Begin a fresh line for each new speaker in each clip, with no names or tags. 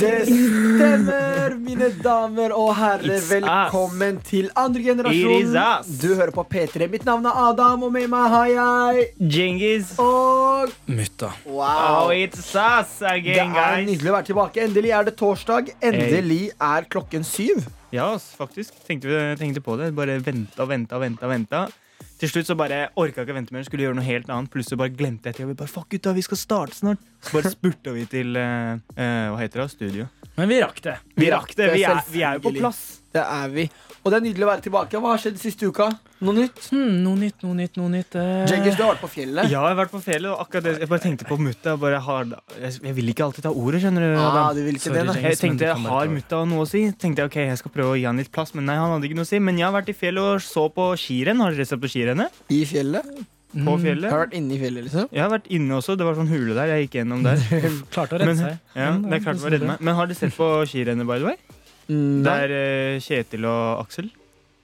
Det stemmer, mine damer og herrer.
It's us.
Velkommen til andre
It is
generasjon.
us.
Du hører på P3. Mitt navn er Adam, og med meg har jeg
Genghis.
Og
Mutta.
Oh,
Wow.
it's us
Det
again,
er
guys.
nydelig å være tilbake. Endelig er det torsdag. Endelig er klokken syv.
Ja, ass, faktisk. Tenkte, vi, tenkte på det. Bare venta og venta og venta. og venta. Til slutt så bare orka jeg ikke vente mer. Skulle gjøre noe helt annet. Plutselig bare glemte jeg til. Og vi bare, fuck gutta, vi skal starte snart. Så bare spurte vi til eh, eh, Hva heter det? Studio.
Men vi rakk det.
Vi rakk det. Vi er, vi er jo på
selvfølgelig.
plass.
Det er vi. Og det er nydelig å være tilbake. Hva har skjedd siste uka? Noe nytt?
Hmm, noe nytt, noe nytt, noe nytt. eh.
Jeggis, du har vært på fjellet.
Ja, jeg har vært på fjellet, og akkurat det, jeg bare tenkte på mutta. Jeg, bare har, jeg, jeg vil ikke alltid ta ordet, skjønner du.
Ah,
Adam.
du vil ikke
Sorry,
det, nei.
Jeg
Jeggis. Yes, men du
tenkte,
kan bare ta
har
over.
mutta noe å si? Tenkte jeg, ok, jeg skal prøve å gi han litt plass, men nei, han hadde ikke noe å si. Men jeg har vært i fjellet og så på skirenn. Har dere sett på skirennet?
I fjellet?
På
Mm,
Jeg har
fjellet?
vært inne i fjellet, liksom.
Jeg har vært inne også. Det var sånn hule der. Jeg gikk gjennom der.
Klarte å
Men-
redde seg.
Ja,
Men,
det er klart det var redde meg. Men har dere sett på skirennet, by the way?
Mm, nei.
Der eh, Kjetil og Aksel.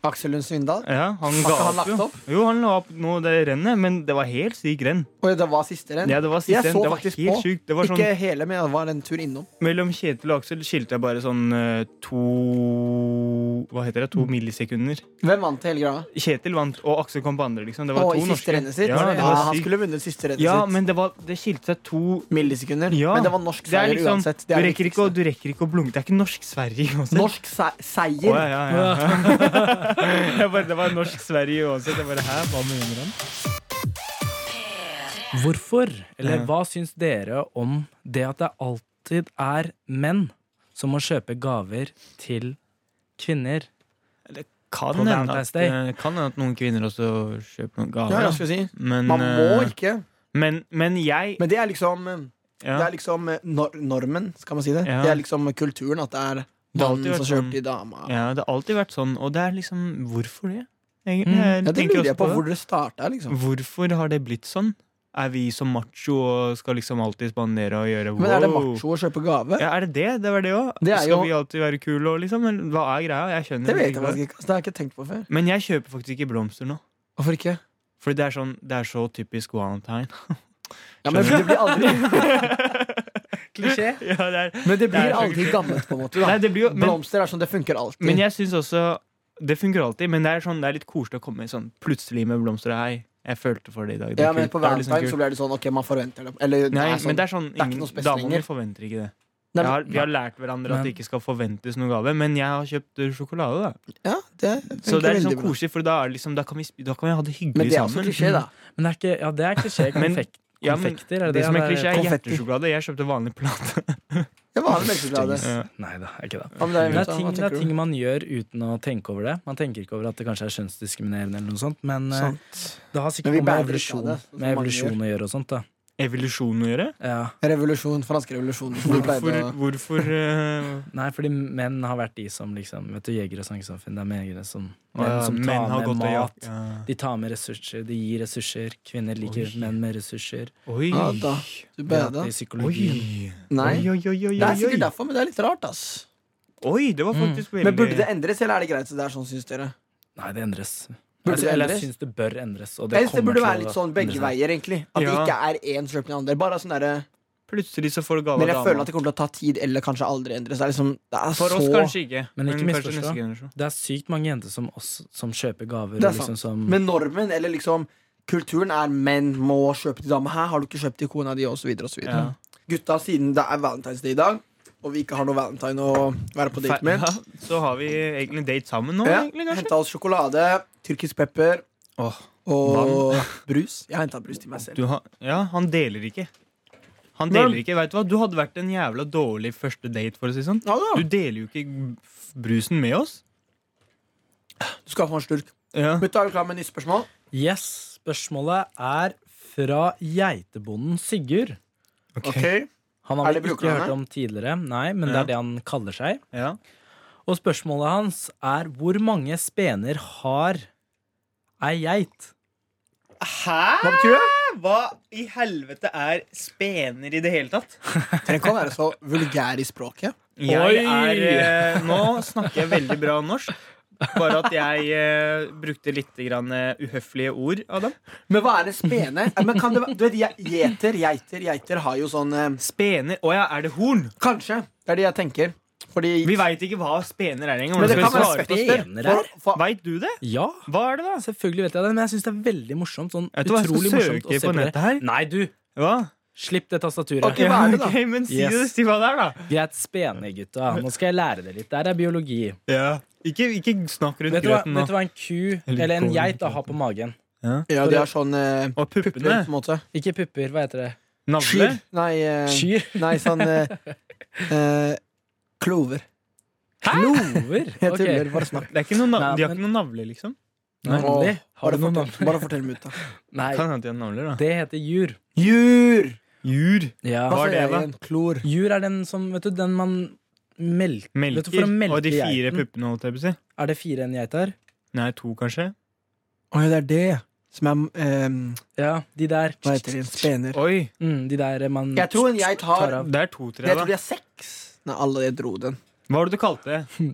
Aksel Lund Svindal.
Ja, han
Har
ga
ikke han
opp,
lagt
jo.
opp?
Jo, han la opp nå det rennet, men det var helt syk renn.
Og det var siste renn.
Ja, det var
Jeg
siste renn.
så
Det var
faktisk
helt
på.
sjukt. Det var sånn
Ikke hele, men det var en tur innom.
Mellom Kjetil og Aksel skilte jeg bare sånn eh, to Hva heter det?
Mm.
To millisekunder.
Hvem vant til hele greia?
Kjetil vant, og Aksel kom på andre. liksom Det var
Og i
to
siste
norske.
rennet sitt?
Ja,
Ja,
det var
han
sykt.
skulle vunnet siste rennet
ja
sitt.
men det, var, det skilte seg to
Millisekunder.
Ja.
Men det var norsk
Det er
seier
liksom
uansett.
du,
Det er det
rekker ikke, å-
viktigste.
du rekker ikke å blunke. Det er ikke norsk-Sverige uansett.
Norsk se- seier?
Å, ja, ja, ja. jeg bare, det var norsk-Sverige uansett. Jeg bare, hæ, hva mener han?
Hvorfor, eller
Ja.
hva syns dere om det at det alltid er menn som må kjøpe gaver til kvinner?
Kan
På
hende
Valentine's
at, eh, kan hende at noen kvinner også kjøper
Ja,
noen gaver.
ja,
da.
skal jeg si.
Men,
Man må
Mm, eh,
ikke.
men, men jeg
Men det er liksom, det
ja.
er liksom eh, nor normen, skal man si det.
Ja.
Det er liksom kulturen at det er
Det har alltid
mannen som
vært
kjøper
sånn.
til dama.
Ja, det har alltid vært sånn, og det er liksom Hvorfor det?
Mm.
Egentlig, jeg
Ja, det
tenker
lurer
også
jeg på
det.
hvor det starta, liksom.
Hvorfor har det blitt sånn? Er vi så macho og skal liksom alltid spandere og gjøre
Men er det
wow?
macho å kjøpe gave?
Ja, er det det? Det var det òg?
Det er
Skal
jo-
vi alltid være kule og liksom? Eller hva er greia? Jeg skjønner
Det vet jeg
ikke.
faktisk ikke. ass. Det har jeg ikke tenkt på før.
Men jeg kjøper faktisk ikke blomster nå.
Hvorfor ikke?
Fordi det er, sånn, det er så typisk valentine.
Ja, men
Skjønner.
det blir aldri,
Klisjé.
ja, det er.
men det
Det
blir
er så
aldri gammelt, på en måte.
Nei,
Da.
det blir jo, men,
Blomster er sånn, det funker alltid.
men jeg syns også Det funker alltid, men det er, sånn, det er litt koselig å komme sånn plutselig med blomster. og Hei, jeg følte for det i dag. Det er
Ja, men
kult.
på
Det er liksom
Valentine
kult.
så blir det sånn Ok, man forventer det. Eller,
Nei,
det er sånn,
men det er sånn
er ikke
ingen-
noe spes
Damene
lenger.
forventer ikke
Nei,
det. Jeg
men-
har, vi har lært hverandre at
Men-
det ikke skal forventes noen gave, men jeg har kjøpt eh, sjokolade. da
ja, det funker
Så det er liksom
veldig bra.
koselig, for da, er det liksom, da, kan vi, sp- da kan vi ha det
Men
hyggelig
det er også
sammen. liksom.
klisjé, da.
Men det er ikke, ja, det er klisjé.
Men-
Konfekt,
ja, men
konfekter, er det,
Det som er
Ja,
klisjé, er
konfetti.
hjertesjokolade. Jeg kjøpte vanlig plate.
Det var en melkesjokolade.
Ja.
Nei da, er ikke det.
Ja, men det er,
Men det er, ting,
hva
det er
tenker du?
ting man gjør uten å tenke over det. Man tenker ikke over at det kanskje er kjønnsdiskriminerende, eller noe sånt men eh,
Sant.
det har
Men
sikkert
vi
noe med
bærer ikke av
evolusjon,
det, sånn som
med
mange
evolusjon å gjøre. og sånt da
Evolusjon å gjøre?
ja.
Revolusjon. Fransk revolusjon. Vi
Hvorfor,
pleide å
hvorfor eh,
Nei, fordi menn har vært de som liksom Vet du, jegere og sangesamfunn, det er jegere som Menn
ja,
som
menn
tar
har
med
gått og
mat.
jakt? Ja.
De tar med ressurser, de gir ressurser. Kvinner liker
Oi.
menn med ressurser.
Oi.
Ja, da. Du
Det er
bæda.
i
Oi.
psykologien.
Nei.
Oi, oi, oi, oi,
Det er
oi.
sikkert derfor, men det er litt rart, ass.
Oi, det var
Mm.
faktisk veldig
Men burde det endres, eller er det greit så det er sånn, syns dere?
Nei, det endres.
Burde
altså,
det
eller jeg
endres?
syns det bør endres. Og det
Jeg synes det
kommer
burde
til
være
å
litt sånn begge
endre seg.
veier, egentlig. At det
Ja.
ikke er én som kjøper den andre. Bare sånn derre
Plutselig så får du gave
Men jeg
av
føler at
dama.
det kommer til å ta tid, eller kanskje aldri endres. Det er liksom Det er
For
så
oss kanskje ikke,
Men ikke
kanskje
misforstå.
neste generasjon.
Det er sykt mange jenter som, også, som kjøper gaver.
Det er
og liksom, som,
Men normen, eller liksom Kulturen er menn må kjøpe til dame. Her har du ikke kjøpt til kona di, og så videre og så videre.
Ja.
Gutta, siden det er Valentine's Day i dag, og vi ikke har noe valentine å være på date med
Ja, så har vi egentlig date sammen nå,
ja,
egentlig, kanskje.
Henta oss sjokolade, tyrkisk pepper
Åh,
og brus. Jeg henta brus til meg selv.
Du har, ja, han deler ikke. Han
Men-
deler ikke, vet Du hva? Du hadde vært en jævla dårlig første date, for å si det sånn.
Ja, da.
Du deler jo ikke f- brusen med oss.
Du skal få en slurk.
Ja.
Mutta, er du klar med nytt spørsmål?
Yes, spørsmålet er fra geitebonden Sigurd.
Ok.
Han
Er
har vi
det
ikke
brukernavnet?
hørt om tidligere, nei, men det
Ja.
er det han kaller seg.
Ja.
Og spørsmålet hans er hvor mange spener har ei geit?
Hæ?
Hva betyr det?
Hva i helvete er spener i det hele tatt?
Trenger ikke å være så vulgær i språket.
Jeg
Oi!
er eh, Nå snakker jeg veldig bra norsk. Bare at jeg eh, brukte litt grann, eh, uhøflige ord, Adam.
Men hva er det spene? Eh, Men kan det, være- du vet, je- Gjeter, geiter, geiter har jo sånn eh,
Spener. Å ja, er det horn?
Kanskje. Det er det jeg tenker. Fordi
Vi veit ikke hva spener er engang.
Men det
Hvordan
kan
skal vi
være
svare på
spener.
spør?
spener er.
For- for-
Veit du det?
Ja,
Hva er det, da?
selvfølgelig vet jeg det, men jeg syns det er veldig morsomt. Sånn
Vet du hva, jeg skal
utrolig morsomt
søke
å se
på
på
nettet
det.
her.
Nei, du!
Hva?
Slipp det tastaturet.
Ok, hva er det da?
ok, men si,
Yes.
det, si hva det er, da.
Greit, spene, gutta. Nå skal jeg lære det litt. Der er biologi.
Ikke, ikke snakk rundt
Vet du, hva,
grøten nå.
vet du hva en ku, eller en geit, da har på magen?
Ja, de har sånn eh,
Og puppene.
pupper, på en måte.
Ikke pupper, hva heter det?
Navle.
Skyr. Nei, eh,
Skyr?
nei sånn eh, eh, Klover.
Klover?
Jeg
Ok.
tuller. Bare snakk.
Det er ikke noen nav
Nei,
de har
men-
ikke noen navle, liksom.
Nei,
Åh,
det- Har
bare,
du noen
fortell, bare fortell meg ut, da.
Nei,
Kan hende de har navler, da.
det heter jur.
Jur!
Jur.
Ja.
Hva
Hva er
sier
det,
jeg
da?
igjen? Klor.
Jur er den som Vet du, den man melker Vet du, for
Melker.
å melke
Og de fire
geiten-
puppene, holdt jeg på å si.
Er det fire en geit her?
Nei, to, kanskje.
Å ja, det er det som er eh,
Ja, de der.
Hva heter det? Spener.
Oi,
Mm, de der man
Jeg tror en geit har
tar av.
det er to-tre,
Jeg
da.
tror de har seks. Nei, alle jeg dro den.
Hva var det du kalte det?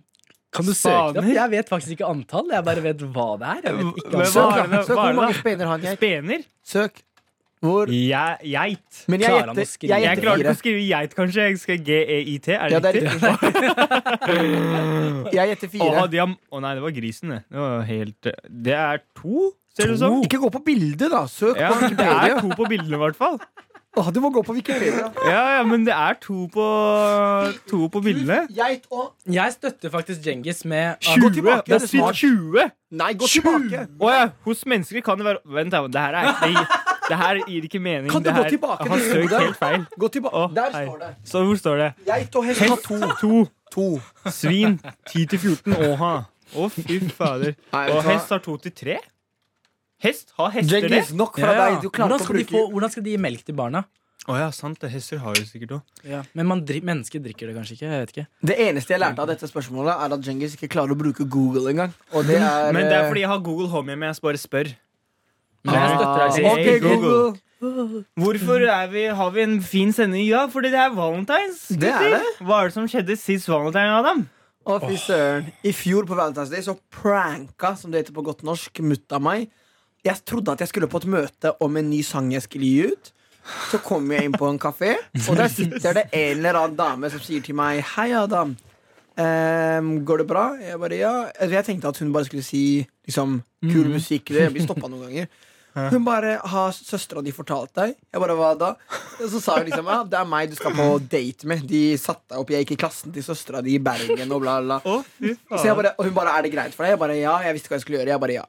Kan du søke det opp?
Spaner?
Jeg vet faktisk ikke antall. Jeg bare vet hva det er. Jeg vet ikke
Men hva
antall.
er
Søk,
det
da.
da?
Søk
Hva
hvor
er det da?
mange spener har en geit.
Spener?
Søk. Hvor
Je- Geit.
Men jeg
Klarer han å
gjetter,
skrive?
jeg
Jeg
gjetter
klarte ikke
fire.
å skrive geit, kanskje. Jeg skal G-E-I-T. Er
Ja,
det
det er
riktig?
riktig. Jeg gjetter
Å,
fire.
de har... å nei, det var grisen, det. Det var helt Det er to, ser det ut som.
Ikke gå på bildet, da. Søk
liksom? Ja,
på
men det er
Wikipedia.
to på bildene, i hvert fall.
Åh, du må gå på Wikipedia.
Ja, ja, men det er to på To på bildene.
Geit og
Jeg støtter faktisk Djengis med at
20!
tilbake,
Det
det er
er sykt
smart.
20!
Nei, gå tilbake!
Å ja, hos mennesker kan det være Vent, da, det her er ikke Det her gir ikke mening.
Kan du
det
gå
her,
tilbake
Jeg
til
har søkt
hodet?
helt feil.
Gå tilbake.
Å,
Der
hei.
står det.
Så hvor står det?
Geit og hest har
Hest
to.
to.
To.
Svin 10-14 åha. Å, fy fader.
Nei, vet
Og
du hva?
hest har 2-3? Hest har hester det?
Djengis, nok fra
Ja, ja.
deg. Du klarte
Hvordan
å
skal, de
bruke
få, hvordan skal de gi melk til barna?
Å ja, sant det. Hester har jo sikkert òg.
Men man dri mennesker drikker det kanskje ikke. Jeg vet ikke
Det eneste jeg lærte av dette spørsmålet, er at Djengis ikke klarer å bruke Google engang. Og det er
Men det er
eh,
fordi jeg har Google Home hjemme. Jeg bare spør.
Men jeg støtter deg.
Ah,
Hey,
Ok,
Google.
Google.
Hvorfor er vi, har vi en fin sending? Ja, fordi det er valentines.
Det er
gutter. Hva er det som skjedde sist valentine, Adam?
Å, fy søren. I fjor på Valentine's Day så pranka, som det heter på godt norsk, mutta meg. Jeg trodde at jeg skulle på et møte om en ny sang jeg skulle gi ut. Så kom jeg inn på en kafé, og der sitter det en eller annen dame som sier til meg Hei, Adam. Ehm, går det bra? Jeg bare, ja. Altså, Jeg tenkte at hun bare skulle si liksom, kul musikk. Det blir stoppa noen ganger. Hun bare Har søstera di fortalt deg? Jeg bare, hva da? Og Så sa hun liksom ja, det er meg du skal på date med. De satte deg opp, jeg gikk i klassen til søstera di i Bergen og bla, bla.
Å, fy
Så jeg bare, og hun bare, er det greit for deg? Jeg bare, ja, jeg visste hva jeg skulle gjøre Jeg bare, ja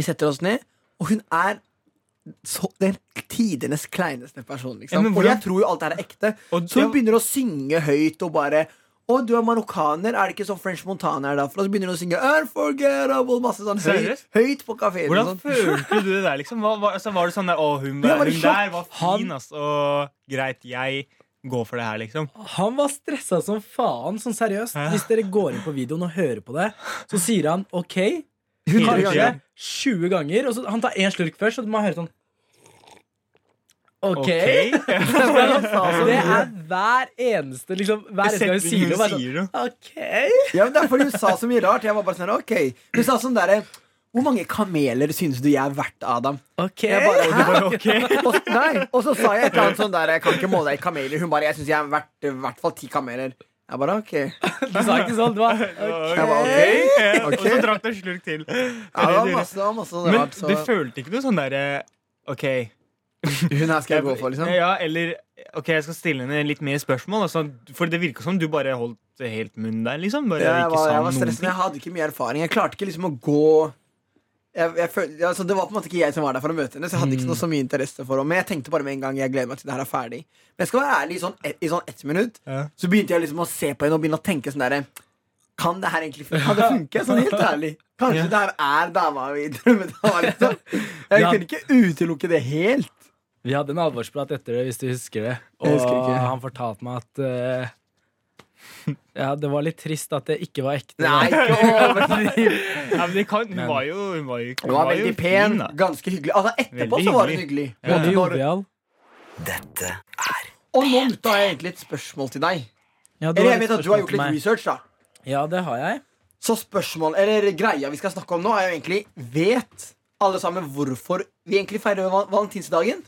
Vi setter oss ned, og hun er så, den tidenes kleineste personen
Ja,
liksom.
men
Og
hvordan-
jeg tror jo alt det her er ekte
Og
Så
det-
hun begynner å synge høyt og bare Å, du er marokkaner, er det ikke sånn French Montana er da? For så begynner hun å synge Unforgettable, masse sånn høyt,
Seriøst?
høyt på kaféen og sånn.
Hvordan følte du det der, liksom? Hva, hva, altså, var det sånn der Å, hun,
Jeg var
var
i
hun
sjokk.
der var fin, ass. Og greit, jeg går for det her, liksom.
Han var stressa som faen. Sånn seriøst. Hvis dere går inn på videoen og hører på det, så sier han OK.
Hundre
Kanskje
ganger.
20 ganger. Og så han tar én slurk først, så man hører sånn OK. Altså,
Ok?
Det er hver eneste liksom, Hver eneste gang hun sier det. og bare Sånn, OK.
Ja, men det er fordi hun sa så mye rart Jeg var bare sånn, ok Hun sa sånn der Hvor mange kameler synes du jeg er verdt, Adam?
ok
Jeg bare,
Du bare, Ah, ok.
og, nei, og så sa jeg et eller annet sånn der Jeg kan ikke måle deg i kameler. Hun bare Jeg syns jeg er verdt i hvert fall ti kameler. Jeg bare OK.
Du sa ikke sånn. Det var
Ok.
Jeg bare,
Ok.
Ok.
Og så drakk du en slurk til.
Ja, det var masse, det var masse sånn
Men
rart.
du
Så
følte ikke noe sånn derre OK.
hun her skal jeg gå for, liksom.
Ja, eller OK, jeg skal stille henne litt mer spørsmål. Altså, for det virka som du bare holdt helt munn der, liksom. Bare
Jeg
ikke
var,
sa
jeg var
noen
stresset, men
ting.
jeg hadde ikke mye erfaring. Jeg klarte ikke liksom å gå jeg, jeg føl- altså, Det var på en måte ikke jeg som var der for å møte henne, så jeg hadde ikke noe så mye interesse for henne. Men jeg tenkte bare med en gang jeg gleder meg til det her er ferdig. Men jeg skal være ærlig, i sånn, et, i sånn ett minutt
Ja.
så begynte jeg liksom å se på henne og begynne å tenke sånn derre Kan det her egentlig funke? Kan det funke? Sånn helt ærlig. Kanskje det her er dama mi. drømmedama, liksom. Jeg
Ja.
kunne ikke utelukke det helt.
Vi hadde en alvorsprat etter det, hvis du husker det. Og
Jeg husker ikke.
han fortalte meg at eh, Ja, det var litt trist at det ikke var ekte.
Nei, ikke overdriv.
Ja, men det kan, hun,
Men-
var jo, hun var jo
Hun var
jo
veldig pen,
fin, da.
ganske hyggelig. Altså Etterpå
Veldig
så var hun hyggelig.
Både
Både når,
jovial
og nå Mutta, har jeg egentlig et spørsmål til deg.
Ja, det var
Eller jeg
litt
vet at du har
spørsmål
gjort
til
litt
meg.
research, da.
Ja, det har jeg.
Så spørsmål, eller greia vi skal snakke om nå, er jo egentlig Vet alle sammen hvorfor vi egentlig feirer val- valentinsdagen?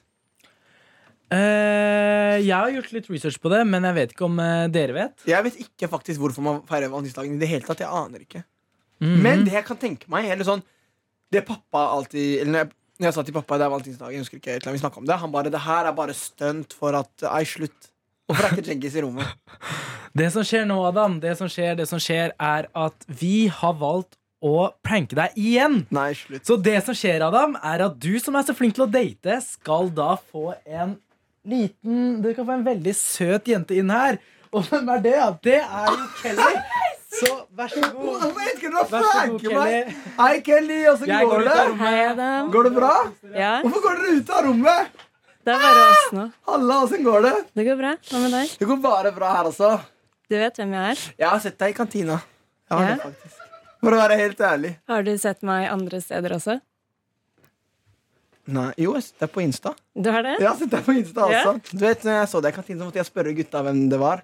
Eh, jeg har gjort litt research på det, men jeg vet ikke om eh, dere vet.
Jeg vet ikke faktisk hvorfor man feirer valentinsdagen i det hele tatt. Jeg aner ikke.
Mhm.
Men det jeg kan tenke meg, eller sånn Det pappa alltid Eller når jeg, når jeg sa til pappa det er valentinsdagen, jeg husker ikke helt hvordan vi snakket om det, han bare Det her er bare stunt for at Ei, slutt. Hvorfor er ikke Djengis i rommet?
Det som skjer nå, Adam, det som skjer, det som skjer, er at vi har valgt å pranke deg igjen.
Nei, slutt.
Så det som skjer, Adam, er at du som er så flink til å date, skal da få en liten Du kan få en veldig søt jente inn her. Og hvem er det? Ja? Det er jo Kelly. Så vær så god.
Hvorfor elsker dere å
Vær så god,
flanke meg?
Kelly.
Hei, Kelly, åssen
Jeg går
går
ut av
det?
rommet.
Hei, Adam.
Går det bra?
Ja,
Hvorfor går dere ut av rommet?
det er bare oss nå.
Halla, åssen går det?
Det går bra. Hva med deg?
Det går bare bra her også.
Du vet hvem jeg er.
Jeg har sett deg i kantina. Jeg har
Ja.
det faktisk. For å være helt ærlig.
Har du sett meg andre steder også?
Nei, jo, jeg har sett deg på Insta.
Du har det?
Jeg har sett deg på Insta
Ja.
også. Du vet, når jeg så deg i kantina, så måtte jeg spørre gutta hvem det var.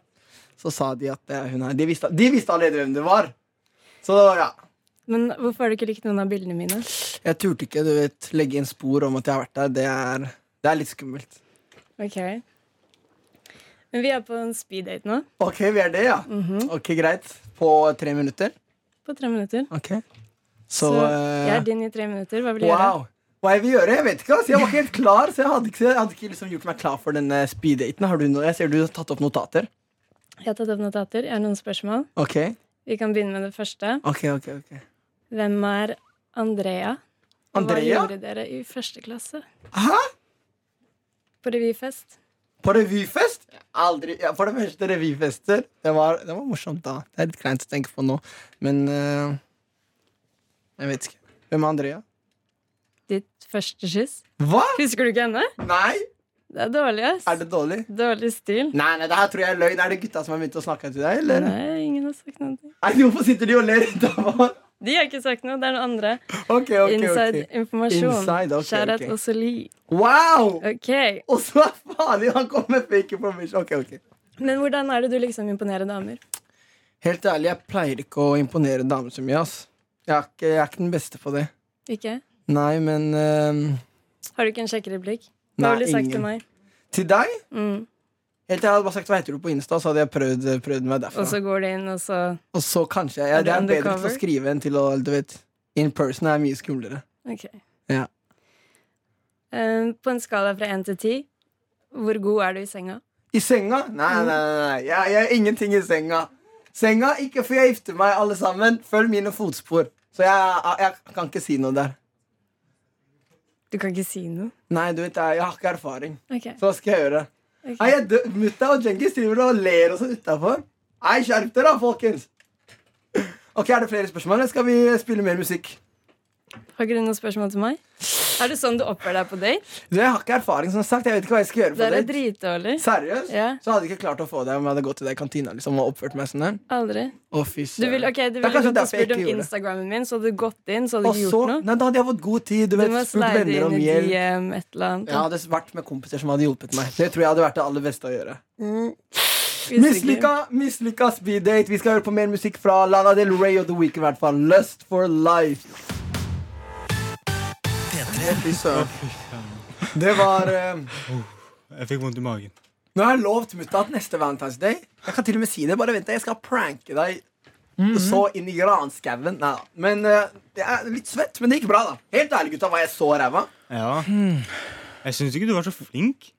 Så sa de at eh, hun er De visste, de visste allerede hvem det var. Så ja.
Men hvorfor har du ikke likt noen av bildene mine?
Jeg turte ikke du vet, legge inn spor om at jeg har vært der. Det er, det er litt skummelt.
Ok. Men vi er på en speeddate nå,
Ok, vi er det, ja.
Mhm.
Ok, Greit. På tre minutter.
på tre minutter.
Ok Så,
Så
eh,
jeg er din i tre minutter. Hva vil du gjøre?
Wow. Hva jeg vil gjøre? Jeg vet ikke. ass. Jeg var ikke helt klar. Så jeg hadde ikke, jeg hadde ikke liksom gjort meg klar for denne speeddaten. Har du noe? Jeg ser du har tatt opp notater.
Jeg har tatt opp notater. Jeg har noen spørsmål.
Ok,
Vi kan begynne med det første.
ok, ok, ok.
Hvem er Andrea? Og
Andrea?
Hva gjorde dere i første klasse?
Hæ?
På revyfest?
På revyfest? Aldri. Ja, for det første, revyfester. Det var, det var morsomt da. Det er litt kleint å tenke på nå. Men eh, jeg vet ikke. Hvem er Andrea?
Ditt første kyss?
Hva?
Husker du ikke henne?
Nei!
Det er dårlig, ass.
Er det dårlig?
Dårlig stil.
Nei, nei, det her tror jeg er løgn. Er det gutta som har begynt å snakke til deg, eller? Nei.
Nei, ingen har sagt noe.
hvorfor sitter de og ler utenfor?
De har ikke sagt noe. Det er noen andre.
Ok, ok,
Inside
ok.
informasjon.
Inside, ok,
Shout out
ok.
også Lee.
Wow!
Ok,
Og så er farlig han kommer med fake information. Ok, ok.
Men hvordan er det du liksom imponerer damer?
Helt ærlig, jeg pleier ikke å imponere damer så mye. ass. Jeg er ikke, jeg er ikke den beste på det.
Ikke?
Nei, men ehm,
Har du ikke en kjekkere blikk?
Nei,
Hva ville du sagt
ingen.
til meg?
Til deg?
Mm.
Helt ærlig, jeg hadde bare sagt hva heter du på Insta, så hadde jeg prøvd, prøvd meg derfra.
Og så går det inn, og så
Og så kanskje jeg,
Er
jeg
du
er bedre til
undercover?
å skrive enn til å Du vet, in person er mye skumlere.
Ok.
Ja.
Eh, på en skala fra én til ti, hvor god er du i senga?
I senga? Nei, nei, nei. nei. Jeg, jeg er ingenting i senga. Senga, ikke for jeg gifter meg, alle sammen. Følg mine fotspor. Så jeg, jeg kan ikke si noe der.
Du kan ikke si noe.
Nei, du vet, jeg, jeg har ikke erfaring.
Ok.
Så hva skal jeg gjøre?
ok.
Nei, jeg dø- Mutta og Djengis driver og ler og sånn utafor. Nei, skjerp dere, da, folkens! Ok, Er det flere spørsmål, eller skal vi spille mer musikk?
Har ikke du noen spørsmål til meg? Er det sånn du oppfører deg på date?
Du, Jeg har ikke erfaring, som sagt. Jeg vet ikke hva jeg skal gjøre.
Det
for
er
date.
dritdårlig.
Seriøst?
Ja.
Så hadde jeg ikke klart å få det om jeg hadde gått til deg i kantina liksom, og oppført meg sånn. der.
Aldri.
Å, fy
Du vil,
søren.
ok, du
Det er
ville
kanskje
gått og
derfor jeg
spurt om
ikke gjorde det.
Instagrammen min, så hadde du gått inn, så hadde
Og
du ikke
så,
gjort noe.
nei, da hadde jeg fått god tid. Du,
Du
vet,
må
spurt
slide
venner
inn
om
i
hjelp.
DM, et eller
Jeg
annet.
hadde vært med kompiser som hadde hjulpet meg. Det tror jeg hadde vært det aller beste å gjøre.
Usikker.
Mislykka, mislykka speeddate. Vi skal høre på mer musikk fra Lana Del Rey og The Week i hvert fall. Lust for life. Å, Fy søren. Det var eh,
Jeg fikk vondt i magen.
Nå har jeg lovt mutta at neste Valentine's Day Jeg kan til og med si det, bare vent, jeg skal pranke deg så inn i granskauen. Nei da. Men eh, det er litt svett, men det gikk bra, da. Helt ærlig, gutta, var jeg så ræva?
Ja.
Hmm.
Jeg syns ikke du var så flink.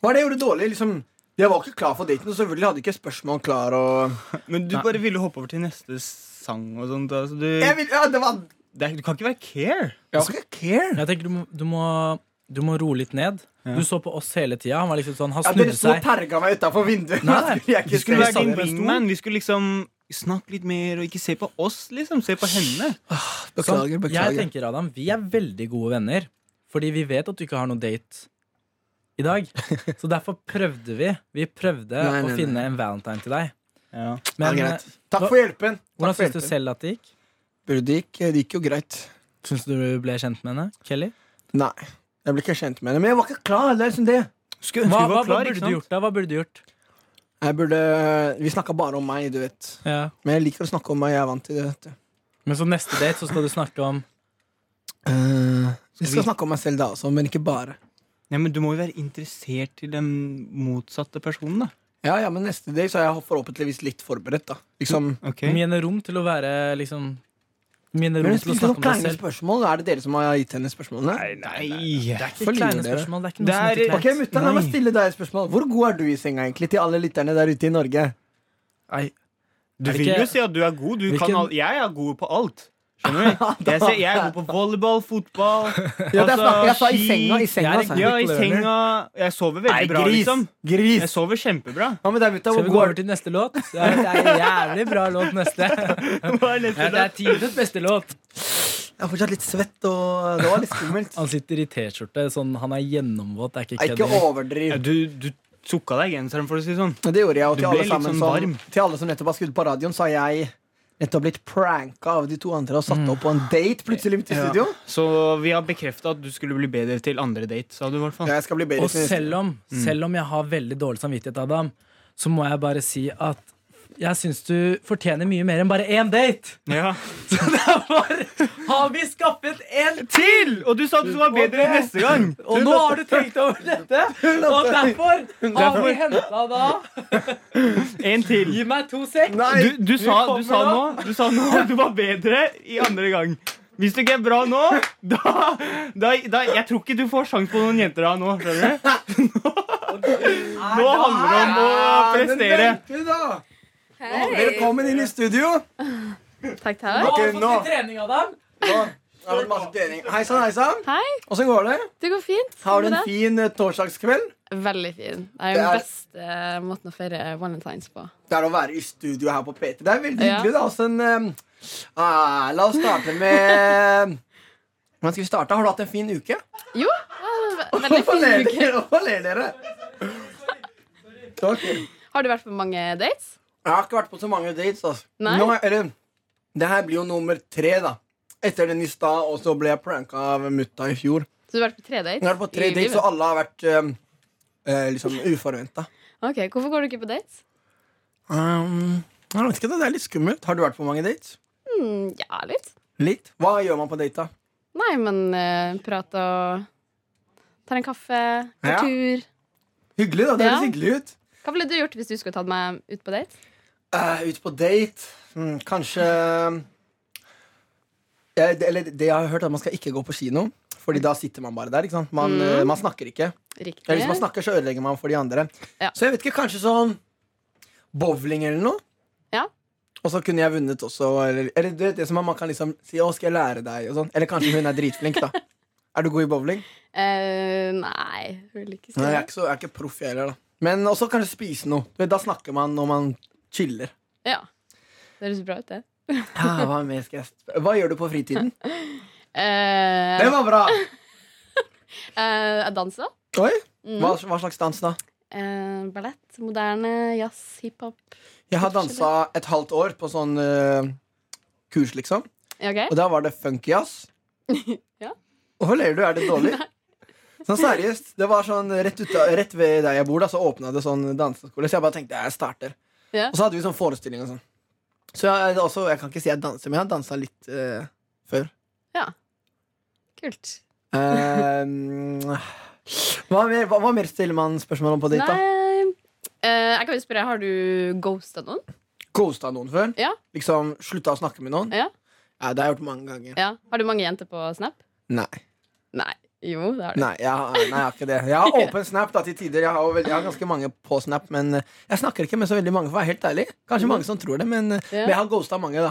Hva er det jeg gjorde dårlig? liksom Jeg var ikke klar for daten, og selvfølgelig hadde jeg ikke spørsmål klar. Og...
Men du bare ville hoppe over til neste sang og sånt. Altså, du,
Jeg vil, ja, det var
det er, du kan ikke være care.
Jeg var ikke care.
Jeg tenker du må, du må, du må roe litt ned. Du så på oss hele tida. Han var liksom sånn, han
Ja, dere
snudde
sto og
seg.
terga meg utafor vinduet. Da
Nei,
skulle jeg
Vi
ikke
skulle
se
være din
sammen.
wingman. Vi skulle liksom snakke litt mer og ikke se på oss, liksom. Se på henne.
Sånn, Jeg tenker, Adam, vi er veldig gode venner. Fordi vi vet at du ikke har noen date i dag. Så derfor prøvde vi. Vi prøvde
Nei, nei,
å finne en valentine til deg.
Ja.
Ja,
Men
greit.
eh,
Takk
hva-
for hjelpen. Takk
hvordan
for
syns du
hjelpen.
selv at det gikk?
Burde det gikk, det gikk jo greit.
Syns du du ble kjent med henne? Kelly?
Nei. Jeg ble ikke kjent med henne, men jeg var ikke klar. Det er liksom det.
Skulle
Hva,
ønske du
hva,
var klar,
burde
ikke
du
sant?
gjort da? Hva burde du gjort?
Jeg burde Vi snakka bare om meg, du vet.
Ja.
Men jeg liker å snakke om meg. Jeg er vant til det. Vet du.
Men så neste date så skal du snakke om
Eh, vi skal snakke om meg selv da også, men ikke bare.
Nei, men Du må jo være interessert i den motsatte personen, da.
Ja, ja, men neste dag så er jeg forhåpentligvis litt forberedt, da. Liksom,
Ok
mine rom til å være liksom Mine
men
rom
hun
til å
spilte noen
snakke om deg
kleine
selv.
spørsmål. Er det dere som har gitt henne spørsmålene?
Nei!
Det er
Hvorfor
ikke kleine
lyver dere?
spørsmål. Det er ikke
Det
noe som
er-
heter
Ok,
kleint.
mutta, la meg
Nei.
stille deg et spørsmål. Hvor god er du i senga, egentlig, til alle lytterne der ute i Norge?
Nei.
Du
Er det
vil
ikke-
jo si at du er god. Du kan
Hvilken-
al jeg er god på alt. Skjønner du? Jeg, ser, jeg er god på volleyball, fotball
Ja,
Altså,
det er snakk- jeg sa i
ski.
senga, i senga,
Jeg er
sa jeg.
Ja, i
Quick learner.
senga. Jeg sover veldig
Nei,
bra, liksom.
Gris!
Jeg sover kjempebra.
Hva med deg, mutta?
Skal
Hvor
vi gå
god er
over til neste låt? Det er det er en jævlig bra låt neste.
Hva er neste
Ja, Det
da?
er tidenes beste låt.
Jeg er fortsatt litt svett, og det var litt skummelt.
Altså,
Han sitter i T-skjorte, sånn han er gjennomvåt. Det er
Nei,
ikke
ikke
kødd.
overdriv.
Ja, Du, du sukka deg i genseren, for å si det sånn.
Det gjorde jeg, og
Du
til
ble
alle,
litt
sammen,
sånn
som,
varm.
til alle som nettopp har skrudd på radioen, så har jeg nettopp blitt pranka av de to andre og
Mm.
satt opp på en date plutselig midt i studio.
Så vi har bekrefta at du skulle bli bedre til andre date, sa du i hvert fall.
Ja, jeg skal bli bedre
Og
til neste-
selv om, selv om jeg har veldig dårlig samvittighet, Adam, så må jeg bare si at jeg syns du fortjener mye mer enn bare én date!
Ja.
Så det er bare Har vi skaffet en
Til! Og du sa at du var bedre
Ok.
neste gang.
Og nå har du tenkt over dette, og derfor har vi henta da
En til.
Gi meg to sek!
Du, du, sa, du, sa nå,
kommer
du sa nå at du var bedre i andre gang. Hvis du ikke er bra nå, da, da, da Jeg tror ikke du får sjanse på noen jenter da nå. Skjønner du? Nå handler det om å prestere.
Men vent du da!
Hei.
Velkommen inn i studio.
Takk, takk.
Nå har
Ok,
vi fått
nå.
litt trening, Adam.
Da har vi masse trening. Hei sann, hei sann.
Hei,
Åssen går det?
det går fint.
Har du
Med
en
deg?
fin eh, torsdagskveld?
Veldig fin. Det er
Det
den
er-
beste måten å feire valentines på.
Det er å være i studio her på P3. Det er veldig
Ja.
hyggelig. da også en, eh, ah, La oss starte med Hvordan skal vi starte? Har du hatt en fin uke?
Jo, ja, ve- veldig
Hvorfor ler
fin uke.
dere? Hvorfor ler dere? Takk. Jeg
Har du vært på mange dates?
har ikke vært på så mange dates. Altså.
Nei.
Nå, er- eller, det her blir jo nummer tre, da. Etter den i stad, og så ble jeg pranka av mutta i fjor.
Så du har vært på tre dates?
Nå er det på tre
i
dates,
livet?
og alle har vært eh, eh, liksom uforventa.
Ok, Hvorfor går du ikke på dates?
Um, jeg vet ikke, det er litt skummelt. Har du vært på mange dates?
Hmm, ja, litt.
Litt. Hva gjør man på date, da?
Nei, men eh, prat og Tar en kaffe, går
Ja.
tur.
Hyggelig, da. Det
Ja.
høres hyggelig ut.
Hva ville du gjort hvis du skulle tatt meg ut på date?
Eh, ut på date mm, Kanskje Eh, det, Eller det jeg har hørt, er at man skal ikke gå på kino. Fordi da sitter man bare der. ikke sant? Man, eh, man snakker ikke.
Mm. Riktig.
Eller hvis man snakker, så ødelegger man for de andre.
Ja.
Så jeg vet ikke, kanskje sånn bowling eller noe.
Ja.
Og så kunne jeg vunnet også. Eller, eller du vet, det som er, man kan liksom si 'Å, skal jeg lære deg?' og sånn. Eller kanskje hun er dritflink, da. er du god i bowling?
Eh, nei, vil ikke si
Nei, jeg er
det.
ikke, så, jeg er ikke proff, jeg heller. da Men også kanskje spise noe. Du vet, Da snakker man når man chiller.
Ja. Det høres bra ut, det.
Ja, hva, mer skal jeg sp- hva gjør du på fritiden?
Eh,
Det var bra!
eh, jeg danser.
Oi,
Mm.
hva, hva slags dans da?
Eh, ballett, moderne, jazz, hiphop.
Jeg har dansa et halvt år på sånn eh, kurs, liksom.
Ja,
Og
Ok?
da var det funky jazz.
Ja.
Hvorfor ler du? Er det dårlig? Sånn seriøst. Det var sånn rett, ut, rett ved der jeg bor, da, så åpna det sånn danseskole. Så jeg bare tenkte jeg starter.
Ja.
Og så hadde vi sånn forestilling og sånn. Så jeg, det er også, jeg kan ikke si jeg danser, men jeg har dansa litt eh, før.
Kult.
Eh, hva, mer, hva, hva mer stiller man spørsmål om på date? da?
Nei eh, Jeg kan jo spørre, har du ghosta noen?
Ghosta noen før?
Ja.
Liksom slutta å snakke med noen?
Ja.
Ja, det har jeg gjort mange ganger.
Ja. Har du mange jenter på Snap?
Nei.
Nei. Jo, det har du.
Nei, jeg, har- nei, jeg har ikke det. Jeg har åpen Snap da til tider. Jeg har, jo veld- jeg har ganske mange på Snap, men eh, jeg snakker ikke med så veldig mange. For å være helt ærlig Kanskje mange som tror det, men, eh,
Mm. Ja.
men jeg har ghosta mange. da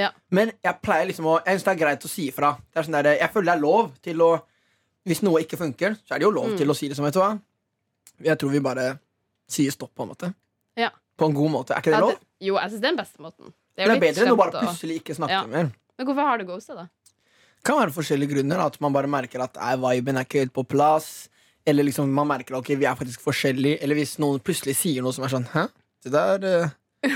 Ja.
Men jeg pleier liksom å Jeg synes det er greit å si ifra. Det er sånn der, jeg føler det er lov til å Hvis noe ikke funker, så er det jo lov
Mm.
til å si det som vet du hva. Jeg tror vi bare sier stopp, på en måte.
Ja.
På en god måte. Er ikke det
Ja,
lov?
det- Jo, jeg syns det er den beste måten.
Det er,
litt
bedre enn å
slemt
bare
å-
plutselig ikke snakke
Ja.
mer.
Men hvorfor har du ghosta, da?
kan være forskjellige grunner. da, At man bare merker at nei, viben er ikke helt på plass. Eller liksom man merker at ok, vi er faktisk forskjellige. Eller hvis noen plutselig sier noe som er sånn Hæ? Det der eh,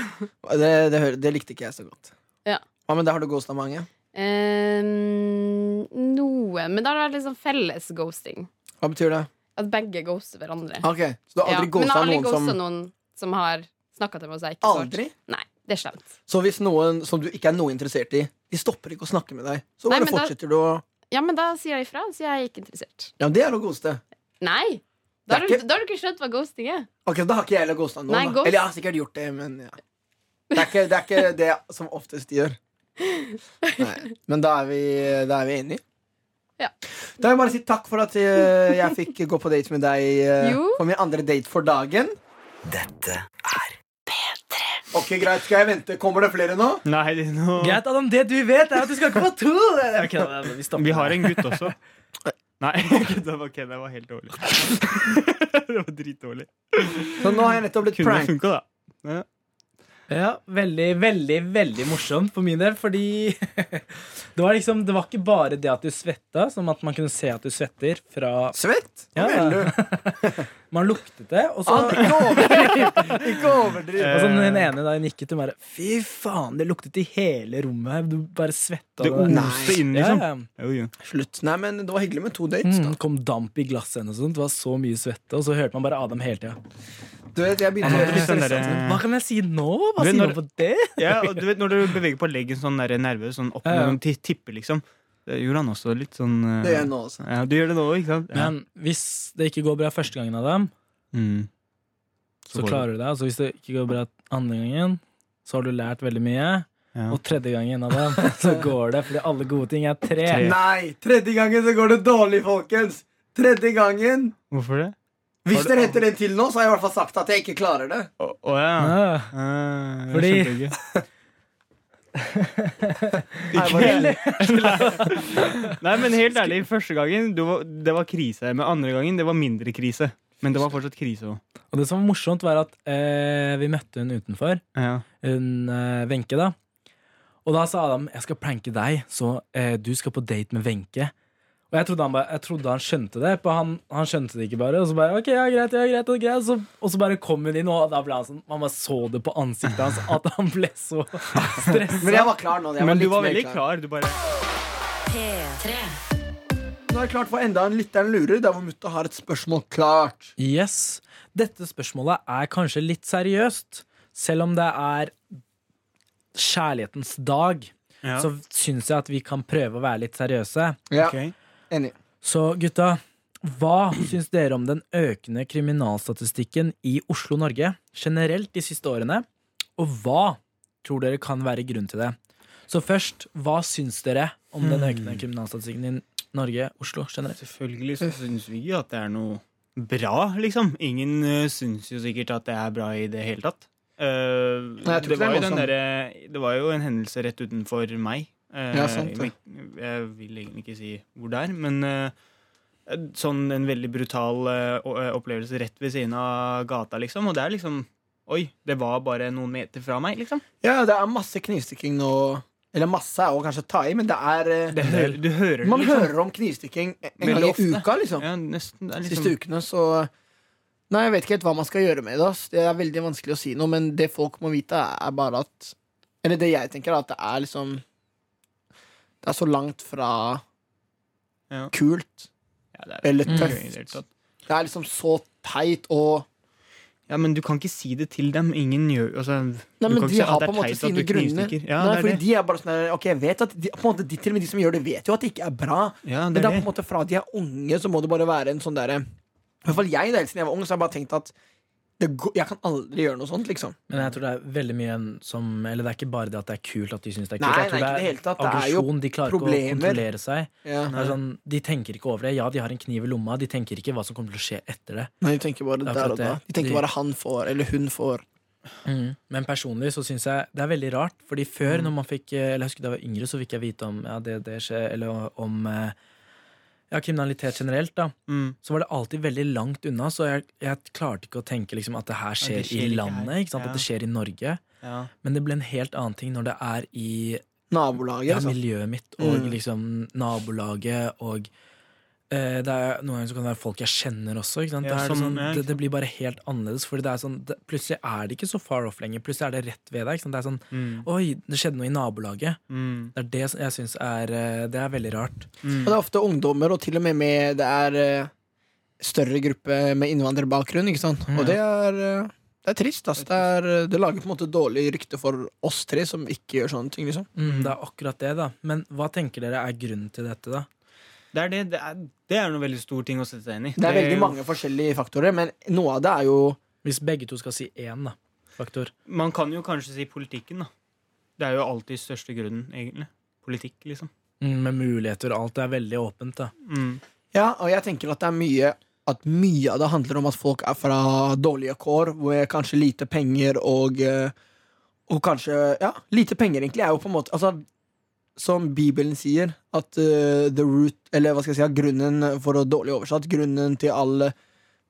det, det, hører- det likte ikke jeg så godt.
Ja.
Hva med det har du ghosta mange?
Eh, Ehm, noe. Men da har det vært litt sånn felles ghosting.
Hva betyr det?
At begge ghoster hverandre.
Ok, Så du har aldri
Ja, Men jeg
ghosta
har aldri
noen
ghosta
som
noen som har snakka til meg, og så har jeg ikke svart.
Aldri?
Nei,
Det er slemt.
Så hvis noen som du ikke er noe interessert i, de stopper ikke å snakke med deg, så
Nei,
bare
men da-
fortsetter du å
Ja, men da sier jeg ifra. Så jeg er ikke interessert.
Ja, men det er å ghoste.
Nei! Da
Det
har, du,
er
da har du ikke skjønt hva ghosting er.
Ok, Da har ikke jeg heller ghosta noen.
Nei,
da.
ghost-
Eller jeg har sikkert gjort det, men ja. Det er ikke det, er ikke det som oftest gjør. Nei. Men da er vi, da er vi enige.
Ja.
Da vil jeg bare si takk for at eh, jeg fikk gå på date med deg eh,
Jo.
på min andre date for dagen. Dette er P3. Ok, Greit, skal jeg vente? Kommer det flere nå?
Nei, det er noe...
Greit, Adam, det du vet, er at du skal ikke få to! Nei, ok, da, vi stopper
Vi
der.
har en gutt også. Nei, gud, det var, ok, det var helt dårlig. det var dritdårlig.
Så nå har jeg nettopp blitt
Kunne
prank.
funka, da.
Ja, veldig, veldig, veldig morsomt for min del, fordi det var liksom, det var ikke bare det at du svetta, som at man kunne se at du svetter fra
Svett? Hva
Ja.
mener du?
Man luktet det, og så
Ah, ikke overdriv! Ikke overdriv.
og så den ene da hun nikket, hun bare Fy faen, det luktet i hele rommet her. Du bare svetta.
Det
der."
oste inn,
Ja,
liksom.
ja.
Jo, jo.
Slutt. Nei, men det var hyggelig med to dates.
Mm,
Da.
kom damp i glasset hennes, og sånt. det var så mye svette. Og så hørte man bare Adam hele tida.
Du vet, jeg begynte å
Jeg
gjøre det
måtte bli sånn
stressa.
derre-
Hva kan jeg si nå?
Du vet
Hva sier
når-
man på det?
Ja, og du vet når du beveger på leggen sånn der nervøs, sånn opp
Ja, ja.
når du ti- tipper, liksom. Det gjorde han også litt sånn eh,
Det gjør jeg nå også.
Ja, du gjør det nå, ikke sant? Ja.
Men hvis det ikke går bra første gangen, Adam,
Mm.
så
går det.
klarer du deg. Og så hvis det ikke går bra andre gangen, så har du lært veldig mye.
Ja.
Og tredje gangen, Adam, så går det. Fordi alle gode ting er tre.
Tre.
Nei! Tredje gangen så går det dårlig, folkens! Tredje gangen!
Hvorfor det?
Hvis
Har du-
dere henter en til nå, så har jeg i hvert fall sagt at jeg ikke klarer det.
Å å, ja.
Ja.
Ah, jeg
Fordi-
skjønte ikke.
bare-
Nei, men helt ærlig, første gangen du var, det var krise. Men andre gangen det var mindre krise. Men det var fortsatt krise òg.
Og det som var morsomt, var at eh, vi møtte hun utenfor.
Ja.
hun eh, Wenche, da. Og da sa Adam jeg skal pranke deg, så eh, du skal på date med Wenche. Og jeg trodde han, bare, jeg trodde han skjønte det, på han, han skjønte det ikke bare. Og så bare, ok, ja, greit, ja, greit, ja, greit. Så, og så bare kom hun inn, og da ble han sånn, man bare så det på ansiktet hans at han ble så
Men
stressa.
jeg var klar nå. Jeg var
Men du
litt
var
mer
veldig
klar.
klar. Du bare
Nå er det klart for enda en lytteren lurer, der hvor mutta har et spørsmål klart.
Yes. Dette spørsmålet er kanskje litt seriøst, selv om det er kjærlighetens dag.
ja.
Så syns jeg at vi kan prøve å være litt seriøse.
Ja,
Ok.
enig.
Så gutta, hva syns dere om den økende kriminalstatistikken i Oslo-Norge generelt de siste årene? Og hva tror dere kan være grunnen til det? Så først, hva syns dere om den økende kriminalstatistikken i Norge, Oslo generelt?
Selvfølgelig så syns vi jo at det er noe bra, liksom. Ingen uh, syns jo sikkert at det er bra i det hele tatt. Eh,
Nei, jeg tror
det,
ikke det er
var jo
noe
den
som-
derre- det var jo en hendelse rett utenfor meg. Eh,
Ja, sant det.
men Jeg vil egentlig ikke si hvor det er, men eh, sånn en veldig brutal eh, o- eh, opplevelse rett ved siden av gata, liksom. Og det er liksom Oi, det var bare noen meter fra meg, liksom.
Ja, det er masse knivstikking nå. Eller masse er å kanskje ta i, men det er eh,
Det, hø- du hører det,
Man
liksom.
hører om knivstikking en gang
Veldig
i
ofte.
uka, liksom.
Ja, nesten. Det er liksom
Siste ukene, så Nei, jeg vet ikke helt hva man skal gjøre med det. ass. Det er veldig vanskelig å si noe, men det folk må vite, er bare at Eller det jeg tenker, er at det er liksom Det er så langt fra
Ja.
kult
ja, det er,
eller
Mm.
det er i det
tøft.
hele tatt.
Det er liksom så teit og
Ja, men du kan ikke si det til dem. Ingen gjør altså,
Nei,
du
men
kan ikke
de
si,
har
«Ah, det er
på en måte
teit at
sine
du
grunner.
knivstikker». Ja,
Nei,
det er
fordi
det.
de er bare sånn der, Ok, jeg vet at de, på en måte, de, Til og med de som gjør det, vet jo at det ikke er bra.
ja,
Men
det
det er
er
på en
det.
måte fra de er unge, så må det bare være en sånn derre I hvert fall jeg, da, helt siden jeg var ung, så har jeg bare tenkt at det, går- jeg kan aldri gjøre noe sånt, liksom.
Men jeg tror det er veldig mye en som Eller det er ikke bare det at det er kult at de syns det er kult.
Nei,
jeg tror
nei, ikke i det hele tatt. Det er jo
aggresjon. De klarer ikke å
problemer.
kontrollere seg.
Ja.
Det er sånn, de tenker ikke over det. Ja, de har en kniv i lomma, de tenker ikke hva som kommer til å skje etter det.
Nei, de tenker bare
Det er
der
akkurat
og da.
det.
De tenker
De-
bare han får, eller hun får. Mm.
Men personlig så syns jeg det er veldig rart, fordi før, når man fikk eh, Eller jeg husker da jeg var yngre, så fikk jeg vite om ja, det, det skjer, eller om eh, ja, kriminalitet generelt, da.
Mm.
Så var det alltid veldig langt unna, så jeg, jeg klarte ikke å tenke liksom, at det her
Ja,
skjer,
det skjer
i
ikke
landet,
her.
ikke sant?
Ja.
at det skjer i Norge.
Ja.
Men det ble en helt annen ting når det er i
Nabolaget.
ja,
liksom.
miljøet mitt og
Mm.
liksom nabolaget og eh, det er, Noen ganger så kan det være folk jeg kjenner også. Ikke sant?
Ja,
det, er
som-
sånn,
ja, ikke
det, det blir bare helt annerledes. Fordi det er sånn, det, plutselig er det ikke så far off lenger. Plutselig er det rett ved deg. Ikke sant? Det er sånn
Mm.
Oi, det skjedde noe i nabolaget.
Mm.
Det er det som jeg syns er eh, Det er veldig rart.
Mm.
Og det er ofte ungdommer, og til og med med det er eh, større gruppe med innvandrerbakgrunn. Ikke sant?
Mm.
Og det er eh, Det er trist. ass. Det, er, eh, det lager på en måte dårlig rykte for oss tre som ikke gjør sånne ting. liksom
Mm, det er akkurat det, da. Men hva tenker dere er grunnen til dette, da?
Det er, det, det, er, det er noe veldig stor ting å sette seg inn i.
Det er veldig mange forskjellige faktorer, men noe av det er jo
Hvis begge to skal si én, da. Faktor.
Man kan jo kanskje si politikken, da. Det er jo alltid største grunnen, egentlig. Politikk, liksom.
Mm, med muligheter. Alt er veldig åpent, da.
Mm.
Ja, og jeg tenker at det er mye At mye av det handler om at folk er fra dårlige kår, hvor jeg kanskje lite penger og eh, Og kanskje Ja, lite penger, egentlig, er jo på en måte Altså, som Bibelen sier, at eh, the root Eller hva skal jeg si, at grunnen for å dårlig oversatt, grunnen til alle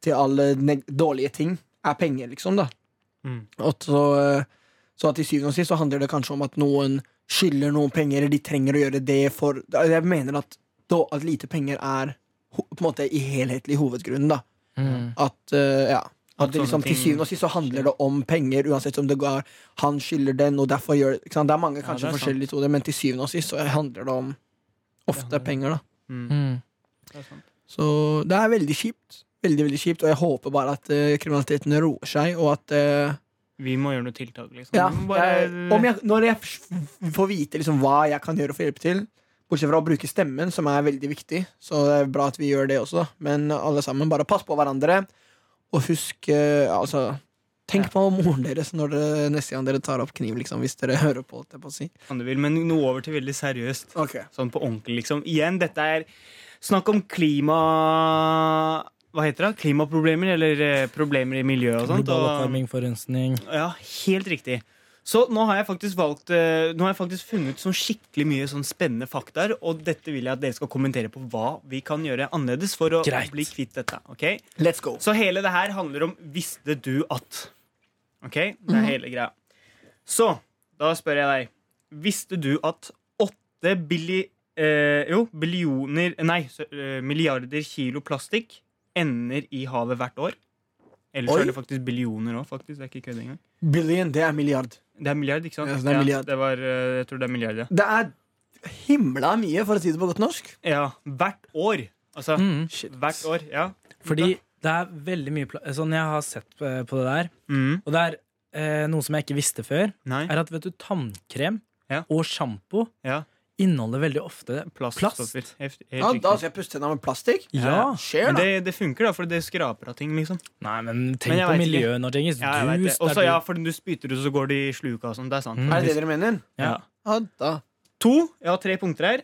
Til alle neg dårlige ting er penger, liksom, da.
Mm.
Og så, eh, så at til syvende og sist så handler det kanskje om at noen skylder noen penger, eller de trenger å gjøre det for Jeg mener at, da, at lite penger er ho- på en måte i helhetlig hovedgrunnen, da. At, eh, ja. At det
sånne
liksom, til
ting-
syvende og sist så handler det om penger, uansett om det går han skylder den, og derfor gjør ikke sant? Det er mange
Ja,
kanskje
det er sant.
forskjellige toner, men til syvende og sist så handler det om ofte
handler-
penger, da.
Mm. Det er sant.
Så det er veldig kjipt. Veldig, veldig kjipt, og jeg håper bare at eh, kriminaliteten roer seg, og at eh,
Vi må gjøre noe tiltak, liksom.
Ja,
Vi må bare,
jeg, om jeg, når jeg f- får vite liksom hva jeg kan gjøre for å hjelpe til, bortsett fra å bruke stemmen, som er veldig viktig, så det er bra at vi gjør det også, da. Men alle sammen, bare pass på hverandre, og husk eh, Altså, tenk på moren deres når dere, neste gang dere tar opp kniv, liksom, hvis dere hører på, holdt jeg på å si.
kan du vil, men noe over til veldig seriøst. Sånn på ordentlig, liksom. Igjen, dette er snakk om klima... Hva heter det? Klimaproblemer, eller eh, problemer i miljøet og sånt.
Global
og-
oppvarming, forurensning
Ja, helt riktig. Så nå har jeg faktisk valgt eh, Nå har jeg faktisk funnet ut sånn skikkelig mye sånn spennende faktaer, og dette vil jeg at dere skal kommentere på hva vi kan gjøre annerledes for å
Greit.
bli kvitt dette. ok?
Let's go.
Så hele det her handler om 'visste du at'? Ok? Det er hele greia. Så da spør jeg deg. Visste du at åtte billi... Eh, jo, billioner Nei, så, eh, milliarder kilo plastikk ender i havet hvert år? Eller så
Oi.
er det faktisk billioner òg, faktisk. Det er ikke kødd engang.
Billion, det er milliard.
Det er milliard, ikke sant?
Ja, så det er milliard.
det var, eh, jeg tror det er milliard, ja.
Det er himla mye, for å si det på godt norsk.
ja. Hvert år. Altså,
Mm.
hvert år, ja.
Fordi det er veldig mye pla Sånn jeg har sett eh, på det der,
Mm.
og det er eh, noe som jeg ikke visste før,
Nei.
er at vet du,
Mm.
tannkrem
Ja.
og sjampo
Ja.
inneholder veldig ofte
Plaststoffer. Helt, helt
Ja, da
riktig.
skal jeg puste henne med plastikk.
Ja.
Skjer,
Men
da.
det, det funker, da, for det skraper av ting, liksom.
Nei, men tenk
Men jeg
på
vet ikke.
miljøet nå, Cengiz.
Ja, jeg vet det.
Dus,
Også,
der
ja,
du-
for du spytter ut, så går det i sluka og sånn. Det er sant.
Mm.
Er det det dere mener?
ja.
Ja, da.
To, jeg har tre punkter her.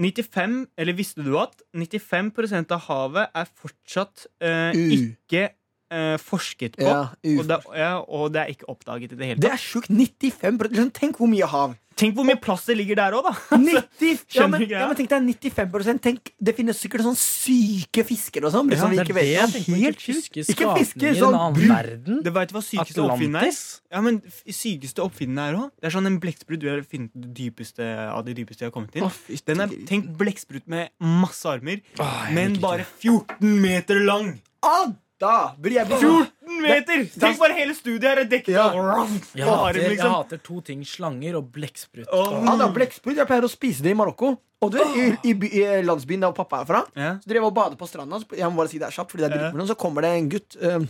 95, eller visste du at 95 av havet er fortsatt eh,
U.
ikke eh, forsket på?
Ja,
Og det, ja, og det er ikke oppdaget i det hele
Det er
tatt.
sjukt. 95 liksom, Tenk hvor mye hav.
Tenk hvor mye plass det ligger der òg, da!
90, ja, men,
Skjønner du greia?
ja, men tenk deg 95 tenk, Det finnes sikkert sånn syke fisker og sånn.
Ja,
Liksom, vi
det er
ikke
det
vet
jeg
om.
tenker på. Ikke tyske
Ikke fisker,
skapninger i
sånn
en annen
brun.
verden.
Det vet du hva sykeste oppfinneren er?
Atlantis.
Ja, men f- sykeste oppfinneren er òg. Det er sånn en blekksprut du har funnet det dypeste av de dypeste jeg har kommet til.
Å, fy,
Den er,
tenk-
tenk blekksprut med masse armer,
Åh, jeg
men
liker
bare 14 meter lang!
Ah, da burde jeg bli
14 meter! Tenk bare hele studiet her er dekket
Ja.
av ram!
Jeg
Og
hater,
arm,
jeg
liksom.
hater to ting. Slanger og blekksprut.
Og-
Ja, Ah, da, Blekksprut. Jeg pleier å spise det i Marokko. Og du vet, i, i, by, I landsbyen der hvor pappa er fra,
Ja.
Så drev jeg og badet på stranda. så Jeg må bare si det er kjapt, fordi det er
Ja.
dritmorsomt. Så kommer det en gutt eh,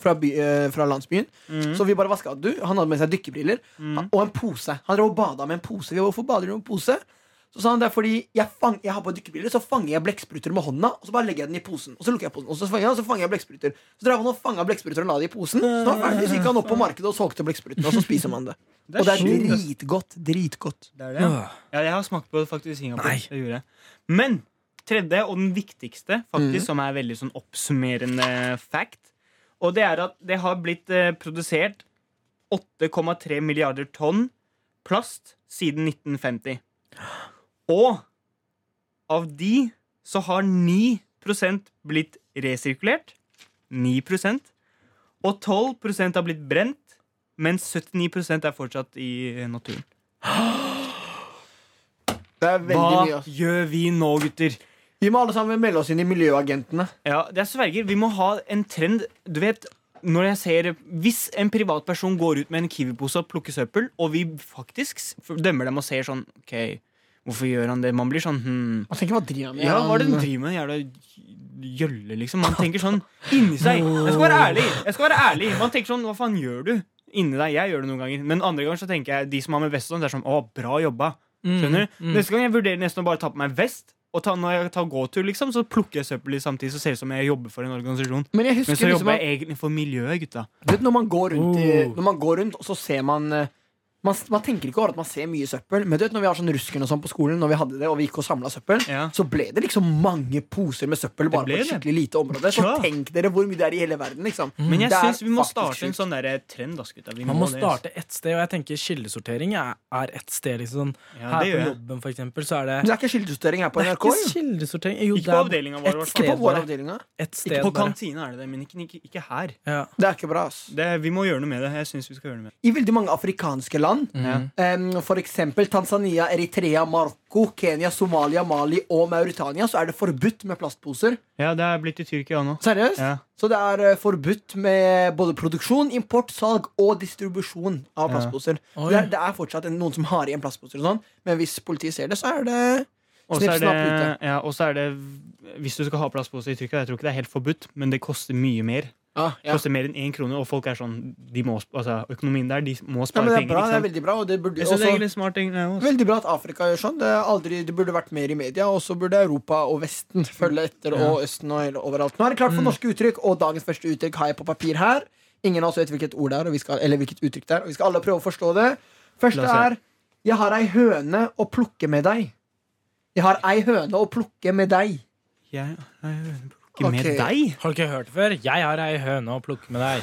fra, by, eh, fra landsbyen.
Mm.
Så vi bare vaska du. Han hadde med seg dykkerbriller han- og en pose. Han drev og bada med en pose. Vi, Hvorfor bader du med en pose? Så sa han det er fordi jeg, fang, jeg har på dykkerbriller, så fanger jeg blekkspruter med hånda. Og så bare legger jeg den i posen. Og så lukker jeg posen, og så fanger jeg, og så fanger jeg blekkspruter. Så drev han og fanga blekkspruter og la det i posen. Så han var ferdig, så gikk han opp på markedet og solgte blekksprutene, og så spiser man det.
Det er
og det er
sjukt, ass.
dritgodt. Dritgodt.
Det er det.
Åh.
Ja, jeg har smakt på det faktisk i Singapore.
Nei.
Det gjorde jeg. Men tredje og den viktigste, faktisk, som er veldig sånn oppsummerende fact, og det er at det har blitt eh, produsert 8,3 milliarder tonn plast siden 1950. Og av de så har 9 blitt resirkulert. 9 Og 12 har blitt brent, mens 79 er fortsatt i naturen.
Det er veldig
Hva
mye. altså. ass.
gjør vi nå, gutter?
Vi må alle sammen melde oss inn i Miljøagentene.
Ja, jeg sverger, vi må ha en trend. Du vet, når jeg ser Hvis en privatperson går ut med en Kiwi-pose og plukker søppel, og vi faktisk s- dømmer dem og ser sånn OK, Hvorfor gjør han det? Man blir sånn hm.
Man tenker hva driver han med?
Ja, hva er det den
Han-
driver med? En Jævla gjølle, liksom. Man tenker sånn inni seg. Jeg skal være ærlig. Jeg skal være ærlig. Man tenker sånn, hva faen gjør du? Inni deg. Jeg gjør det noen ganger. Men andre ganger så tenker jeg de som har med vest og sånn, det er sånn, å, bra jobba.
Mm,
Skjønner du? Neste gang jeg vurderer nesten å bare ta på meg vest, og ta, når jeg tar gåtur, liksom, så plukker jeg søppel i samtidig, så ser det ut som jeg jobber for en organisasjon.
Men jeg
Men
husker
så
liksom
jobber
at,
jeg egentlig for miljøet, gutta.
du vet, når, man går rundt i,
Oh.
når man går rundt, så ser man eh, man, man tenker ikke over at man ser mye søppel, men du vet når vi har sånn rusken og sånn på skolen, Når vi hadde det og vi gikk og samla søppel,
Ja.
så ble det liksom mange poser med søppel bare på
ble
et
det.
skikkelig lite område. Så
Ja.
tenk dere hvor mye det er i hele verden, liksom.
Men jeg
Det er
syns vi må
faktisk
starte en
sjukt.
sånn der trend, ass, gutta. Vi
Man må
det, ass.
starte ett sted, og jeg tenker kildesortering er, er ett sted. liksom
Ja,
Her
det
på
gjør jeg.
jobben, for eksempel, så er det
Men det er ikke skiltjustering her på
Det er
NRK?
ikke
jo.
kildesortering. Jo,
Ikke på
det er
avdelinga vår, i hvert fall.
et
Ikke på
sted
vår
bare.
avdeling. da.
ett sted.
Ikke på
bare.
kantina er det det, men ikke, ikke, ikke her.
Ja.
Det er ikke bra. ass
Det, vi må gjøre noe med det. Jeg synes vi skal gjøre noe med
I
det.
veldig mange afrikanske land,
Ja.
em, for eksempel Tanzania, Eritrea, Marokko, Kenya, Somalia, Mali og Mauritania, så er det forbudt med plastposer.
Ja, det er blitt i Tyrkia nå.
Seriøst?
Ja.
Så det er eh, forbudt med både produksjon, import, salg og distribusjon av
Ja.
plastposer.
Oi.
Det, er, det er fortsatt en- noen som har igjen plastposer, og sånn men hvis politiet ser det, så er det
Og så
snipp,
er,
snapp, ute.
det- ja, og så er det Hvis du skal ha plastpose i Tyrkia, jeg tror ikke det er helt forbudt, men det koster mye mer.
Ah,
Det
ja.
koster mer enn én krone, og folk er sånn de må, sp- altså, Økonomien der, de må
Ja,
spare
men det er bra.
penger. ikke
Det er
sant?
veldig bra. Og det burde,
Jeg synes det er
også-
egentlig smart altså. egentlig, jeg, også.
Veldig bra at Afrika gjør sånn. Det, er aldri, det burde vært mer i media. Og så burde Europa og Vesten følge etter, og Østen og hele, overalt. Nå er det klart for norske uttrykk, og dagens første uttrykk har jeg på papir her. Ingen av oss vet hvilket ord det er, og vi skal, eller hvilket uttrykk det er. Og vi skal alle prøve å forstå det. Første
La oss
er Jeg har ei høne å plukke med deg. Jeg har ei høne å plukke med deg.
Jeg, jeg, ikke med
Ok.
deg?
Har du ikke hørt det før? Jeg har ei høne å plukke med deg.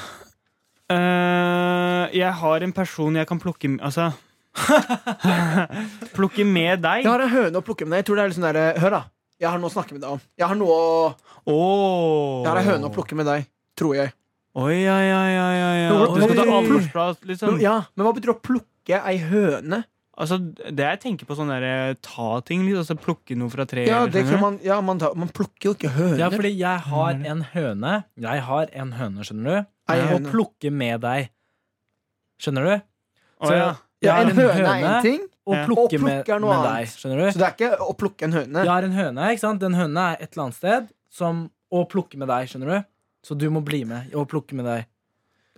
Eh, jeg har en person jeg kan plukke med Altså Plukke med deg?
Jeg har ei høne å plukke med deg. Jeg tror det er litt sånn der, Hør, da. Jeg har noe å snakke med deg om. Jeg har noe å
Åh.
Jeg har ei høne å plukke med deg. Tror jeg.
Oi, oi, oi, oi, oi, oi.
Nå-
Du skal ta
Oi.
avløpsplass, liksom?
Men, ja, men hva betyr å plukke ei høne?
Altså, det jeg tenker på sånn der ta ting, liksom, altså plukke noe fra treet.
Ja,
eller
det
sånn,
kan man, ja man, tar, man plukker jo ikke høner.
Ja, fordi jeg har en høne. Jeg har en høne, skjønner du.
Ei
Å
høne.
plukke med deg. Skjønner du?
Å, ja.
jeg
ja,
har
en høne er én ting,
Å
Ja.
Og
plukke
plukke
med,
er noe
med
annet.
deg. Skjønner
så
du?
det er ikke å plukke en høne.
Jeg har en høne, ikke sant? Den høna er et eller annet sted som å plukke med deg, skjønner du? Så du må bli med og plukke med deg.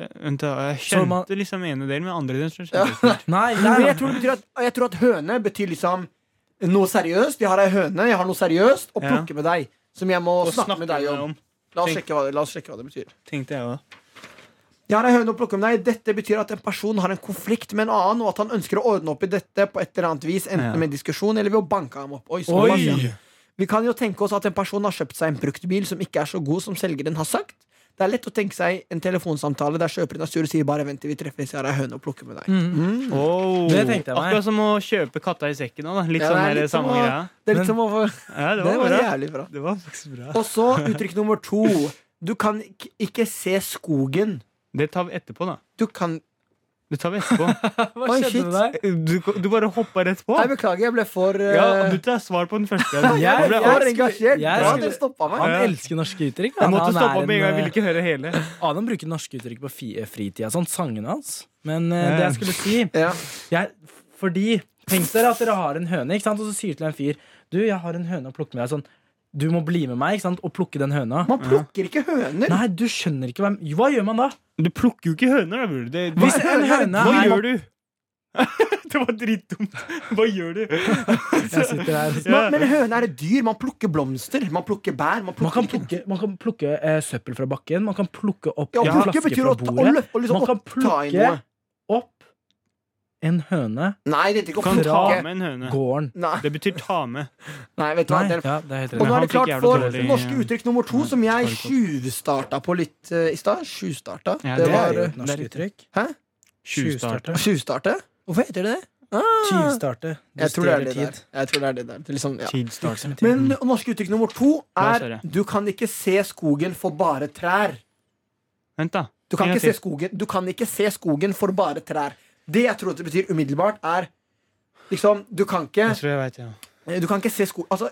Det- Vent, da, jeg
Så
kjente
man-
liksom ene delen, men andre delen så kjente jeg ikke.
Nei,
Men
nei,
jeg tror, det betyr at, jeg tror at høne betyr liksom noe seriøst. Jeg har ei høne, jeg har noe seriøst å
Ja.
plukke med deg. Som jeg må
Og
snakke, med deg om. La oss,
Tenk-
sjekke hva, det- la oss sjekke hva det betyr.
Tenkte jeg også.
Jeg har ei høne å plukke med deg. Dette betyr at en person har en konflikt med en annen, og at han ønsker å ordne opp i dette på et eller annet vis, enten
Ja.
med en diskusjon eller ved å banke ham opp. Oi,
Oi!
såpass, ja. Vi kan jo tenke oss at en person har kjøpt seg en bruktbil som ikke er så god som selgeren har sagt. Det er lett å tenke seg en telefonsamtale der kjøperen er sur og sier bare vent til vi treffes, jeg har ei høne å plukke med deg. Mm.
Oh,
Det tenkte jeg meg.
Akkurat som å kjøpe katta i sekken òg, da. Litt
Ja, det er
sånn der
litt som
samme
å-
greia.
Det er
Men-
litt som å få
Ja, det
Det
var,
var
bra.
jævlig bra.
Det var faktisk bra.
Og så uttrykk nummer to. Du kan ik- ikke se skogen.
Det tar vi etterpå, da.
Du kan
Det tar vi etterpå.
Hva
Oi, shit.
skjedde med deg?
Du, du bare hoppa rett på.
Nei, beklager, jeg ble for eh,
Ja, du tar svar på den første. Jeg,
Jeg
ble
ble
overrasket.
for engasjert.
jeg
Bra,
skulle-
dere stoppa meg.
Han
Ja.
elsker norske uttrykk.
jeg
men
måtte
han
stoppe
er
opp med en gang. Jeg
eh,
ville ikke høre hele.
Adam bruker norske uttrykk på fi- fritida, sånn sangene hans. Men eh,
Ja.
det jeg skulle si
Ja.
jeg, Fordi Tenk dere at dere har en høne, ikke sant? og så sier til en fyr Du, jeg har en høne å plukke med deg. Sånn, du må bli med meg ikke sant? og plukke den høna.
Man plukker ikke høner.
Nei, du skjønner ikke hvem Hva gjør man da?
Du plukker jo ikke høner, da, bror. Det-
Hvis en høne
Hva
er
gjør du? det var dritdumt. Hva gjør du?
Jeg sitter her
Man, men høne er et dyr. Man plukker blomster, man plukker bær. Man
Man
plukker,
kan plukke, man kan plukke eh, søppel fra bakken. Man kan plukke opp
ja,
en
å plukke
flaske
betyr
fra
å, ta, å,
bordet.
løpe, og liksom,
Man kan
å ta i
plukke
noe.
Opp en høne
Nei, det heter
Du
ikke å
kan ta
plukke.
med en høne.
gården.
Nei,
Det betyr ta med.
nei, vet du hva.
Nei,
Det er
ja, det er helt
Og nå
rett.
er
han
det
fikk
klart
jævlig
for
dårlig-
norske uttrykk nummer to,
Nei,
som jeg
spark opp.
tjuvstarta på litt eh, i stad. Tjuvstarta. det
Ja, det
er
var
jo
eh,
et norsk
det er
uttrykk.
Hæ?
Tjuvstarte.
Tjuvstarte? Hvorfor heter det det?
Tyvstarte. Du
Ah, Jeg tror det er
stjeler
det der. Jeg tror det er det der. Det er liksom, ja.
Tidstart.
Tid.
Men norske uttrykk nummer to
Ja,
er
sorry.
'du kan ikke se skogen for bare trær'.
Vent, da.
Du kan,
En
ikke
gang
se skogen, du kan ikke se skogen for bare trær. Det jeg tror at det betyr umiddelbart, er liksom Du kan ikke,
Jeg tror jeg vet, ja.
du kan ikke se skogen Altså,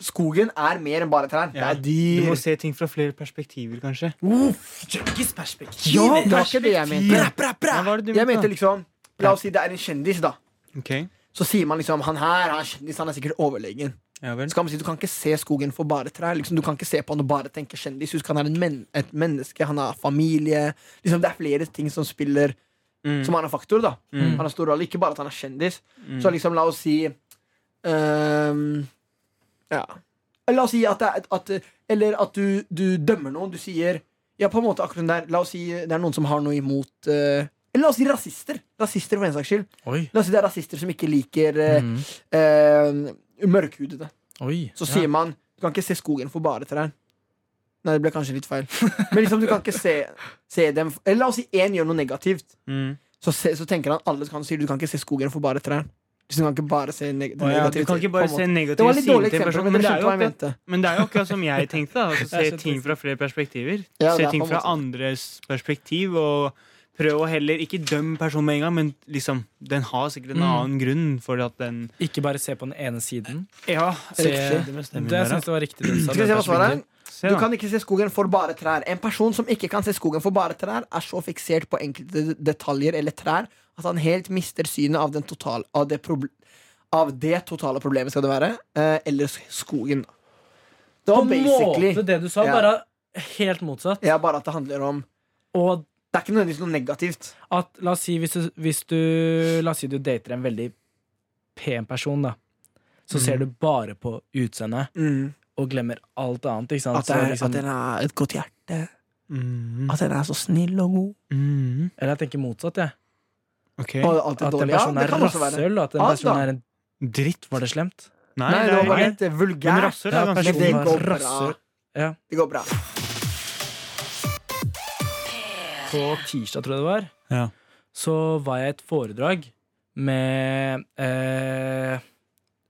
skogen er mer enn bare trær. Det
Ja.
er
Du må
dyr.
se ting fra flere perspektiver, kanskje.
Uff, junkies perspektiv.
Ja, det var ikke det jeg mente.
Bra, bra, bra.
Hva var det du
Jeg mente
mente?
liksom La oss si det er en kjendis, da.
da? Ok.
Så sier man liksom han her han er kjendis, han er sikkert overlegen.
Ja vel.
Skal man si Du kan ikke se skogen for bare trær. Liksom, du kan ikke se på han og bare tenke kjendis. Husk, han er en men et menneske, han har familie. Liksom, det er flere ting som spiller
Mm.
Som er en faktor. da
Mm.
Han er stor rolle, Ikke bare at han er kjendis.
Mm.
Så liksom, la oss si ehm, Ja. La oss si at, det er, at Eller at du, du dømmer noen. Du sier Ja, på en måte akkurat den der La oss si det er noen som har noe imot eh, Eller la oss si rasister. Rasister for en saks skyld.
Oi.
La oss si det er rasister som ikke liker eh,
Mm.
eh, mørkhudede.
Oi.
Så sier man Du kan ikke se skogen for bare trær. Nei, det ble kanskje litt feil. Men liksom, du kan ikke se, se dem Eller la oss si én gjør noe negativt.
Mm.
Så, se, så tenker han alle kan si du kan ikke se skogen for bare trær. Så Du kan ikke bare se neg det
Å ja,
negative
du kan ikke
på
bare
en
se
måte.
negative
Det var litt
sider
dårlig
til en
eksempel,
person,
men
men,
dere skjønte
det er jo
hva jeg
akkurat,
mente.
men det er jo akkurat som jeg tenkte. Da. Altså,
Jeg
se
skjønte
ting fra flere perspektiver.
Ja, det
se
er
ting
på en
fra
måte.
andres perspektiv. Og prøv å heller ikke dømme personen med en gang, men liksom, den har sikkert en
Mm.
annen grunn for at den
Ikke bare se på den ene siden.
Ja,
Se-
riktig. Det
Det
bestemmer
syns
dere.
jeg var riktig. det du sa.
Skal vi se hva svaret er?
Se,
Du
da.
kan ikke se skogen for bare trær. En person som ikke kan se skogen for bare trær, er så fiksert på enkelte detaljer eller trær at han helt mister synet av, den total, av, det, proble av det totale problemet, skal det være. Eh, eller skogen. Det
På
var
en
basically
måte det du sa,
Ja.
bare helt motsatt.
ja, bare at det handler om
Og
Det er ikke nødvendigvis noe negativt.
at, la oss si hvis du, hvis du La oss si du dater en veldig pen person, da. Så
Mm.
ser du bare på utseendet og glemmer alt annet. Ikke sant?
At, det er,
så Mm. liksom,
at den er et godt hjerte.
Mm.
At den er så snill og god.
Mm.
Eller jeg tenker motsatt, jeg.
Ok.
Og alt er
At den
dårlig. Ja,
personen
det
er sånn
kan også være.
rasshøl, og at den
Alt,
personen
da.
er en
Dritt.
Var det slemt?
Nei,
Nei, det var bare
ikke.
litt eh,
Men
vulgært.
rasshøl er
Ja,
ganske
Men det
personen
går
var
bra.
rasshøl. Ja.
Det går bra.
På tirsdag, tror jeg det var,
Ja.
så var jeg i et foredrag med eh, eh,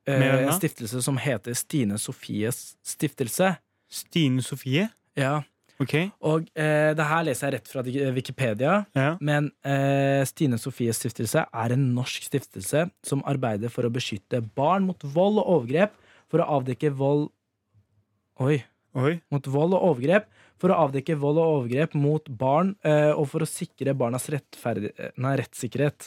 Med hvem da?
en stiftelse som heter Stine Sofies stiftelse.
Stine Sofie.
Ja.
Ok.
Og eh, det her leser jeg rett fra di- eh, Wikipedia.
Ja.
Men eh, Stine Sofies stiftelse er en norsk stiftelse som arbeider for å beskytte barn mot vold og overgrep, for å avdekke vold Oi.
Oi.
Mot vold og overgrep, for å avdekke vold og overgrep mot barn, eh, og for å sikre barnas rettferdi- eh, nei, rettssikkerhet.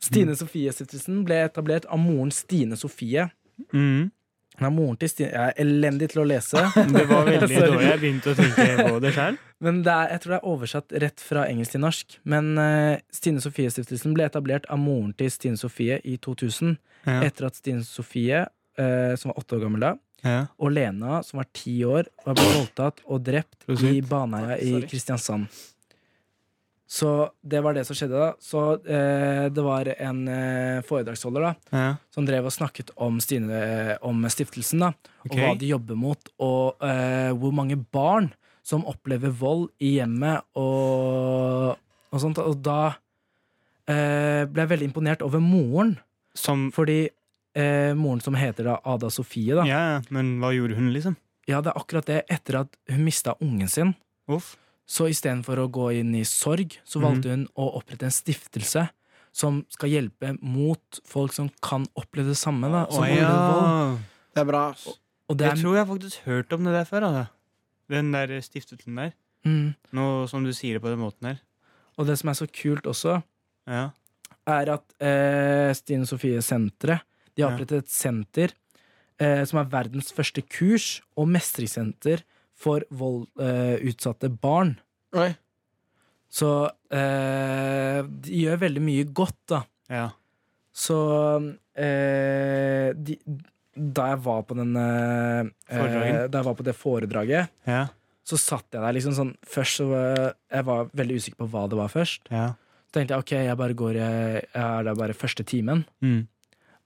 Stine Sofie-stiftelsen ble etablert av moren Stine Sofie.
Mm.
Hun er moren til Stine Jeg er elendig til å lese.
Det var veldig
Sorry.
dårlig. Jeg begynte å tenke på det sjøl.
Men det er, jeg tror det er oversatt rett fra engelsk til norsk. Men eh, Stine Sofie-stiftelsen ble etablert av moren til Stine Sofie i 2000.
Ja.
Etter at Stine Sofie, eh, som var åtte år gammel da,
Ja.
og Lena, som var ti år, var blitt voldtatt og drept
Prosit.
i Baneheia i
Sorry.
Kristiansand. Så det var det som skjedde da. Så eh, det var en eh, foredragsholder da,
Ja.
som drev og snakket om, Stine, eh, om stiftelsen, da,
Ok.
og hva de jobber mot, og eh, hvor mange barn som opplever vold i hjemmet og, og sånt. Og da eh, ble jeg veldig imponert over moren,
Som
fordi eh, moren som heter da Ada Sofie, da, ja.
Ja, ja, men hva gjorde hun, liksom?
det er akkurat det. Etter at hun mista ungen sin,
Uff.
så istedenfor å gå inn i sorg, så
Mhm.
valgte hun å opprette en stiftelse. Som skal hjelpe mot folk som kan oppleve det samme. Da, som
Å,
opplever vold.
Det er bra. ass.
Og det
Jeg
er
tror jeg faktisk hørte om det der før. altså. Da. Den der stiftelsen der.
Mm.
Nå som du sier det på den måten her.
Og det som er så kult også,
Ja.
er at eh, Stine Sofie Senteret De har
Ja.
opprettet et senter eh, som er verdens første kurs og mestringssenter for voldutsatte eh, utsatte barn.
Oi.
Så eh, de gjør veldig mye godt, da.
ja.
Så eh, de, Da jeg var på den eh, eh,
Foredragen.
Da jeg var på det foredraget,
Ja.
så satt jeg der liksom sånn Først så var- Jeg var veldig usikker på hva det var først.
ja.
Så tenkte jeg ok, jeg bare går Jeg, jeg er der bare første timen
Mm.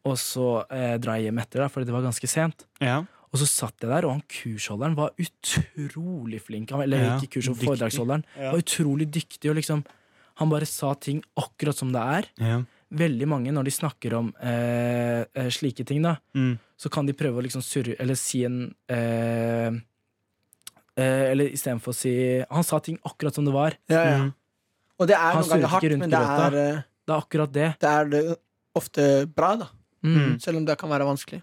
Og så eh, drar jeg hjem etter da Fordi det var ganske sent
ja.
Og så satt jeg der, og han kursholderen var utrolig flink Han, Eller
Ja,
ikke kurs, men
dyktig.
foredragsholderen
Ja.
Var utrolig dyktig og liksom Han bare sa ting akkurat som det er
ja.
Veldig mange når de snakker om eh, eh, Slike ting da
Mm.
Så kan de prøve å liksom surre Eller si en eh, eh, Eller i stedet for å si Han sa ting akkurat som det var
Ja, ja.
Mm.
Og det er
Han
noen ganger
surret ikke
hardt,
rundt
men det
grøta.
er, eh,
Det er akkurat det
det er det ofte bra, da.
mm.
Mm.
Selv om det kan være vanskelig.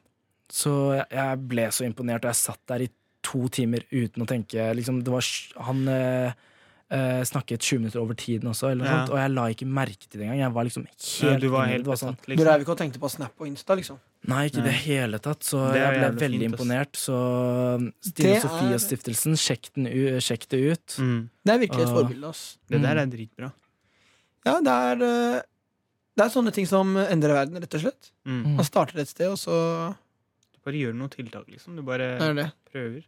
Så jeg ble så imponert, og jeg satt der i to timer uten å tenke. Liksom, det var s- han eh, eh, snakket 20 minutter over tiden også, eller noe
Ja.
sånt, og jeg la ikke merke til det engang. Jeg var liksom
Ja,
helt,
du var
inne i det.
helt
Det var sånn,
besatt,
Du
liksom.
reiv ikke og tenkte på Snap og Insta, liksom?
Nei, ikke i
Nei.
det hele tatt. Så
Det er
jeg ble
jævlig
veldig
fint, ass.
imponert. Så Stine
Det er-
Sofias Stiftelsen, sjekk, den u sjekk det ut.
Mm.
Det er virkelig et
Ah.
forbilde. ass.
Det der er dritbra.
Ja, det er, eh, det er sånne ting som endrer verden, rett og slett.
Mm.
Man starter et sted, og så
Du bare gjør noen tiltak, liksom. Du
Det
bare
er det.
prøver.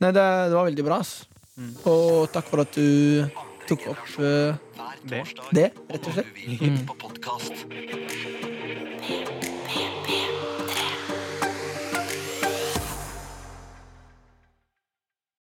Nei, det, det var veldig bra, ass.
Mm.
Og takk for at du tok opp
Hver
eh,
Det.
torsdag
det,
og
rett og
når du
slett.
vil, på podkast.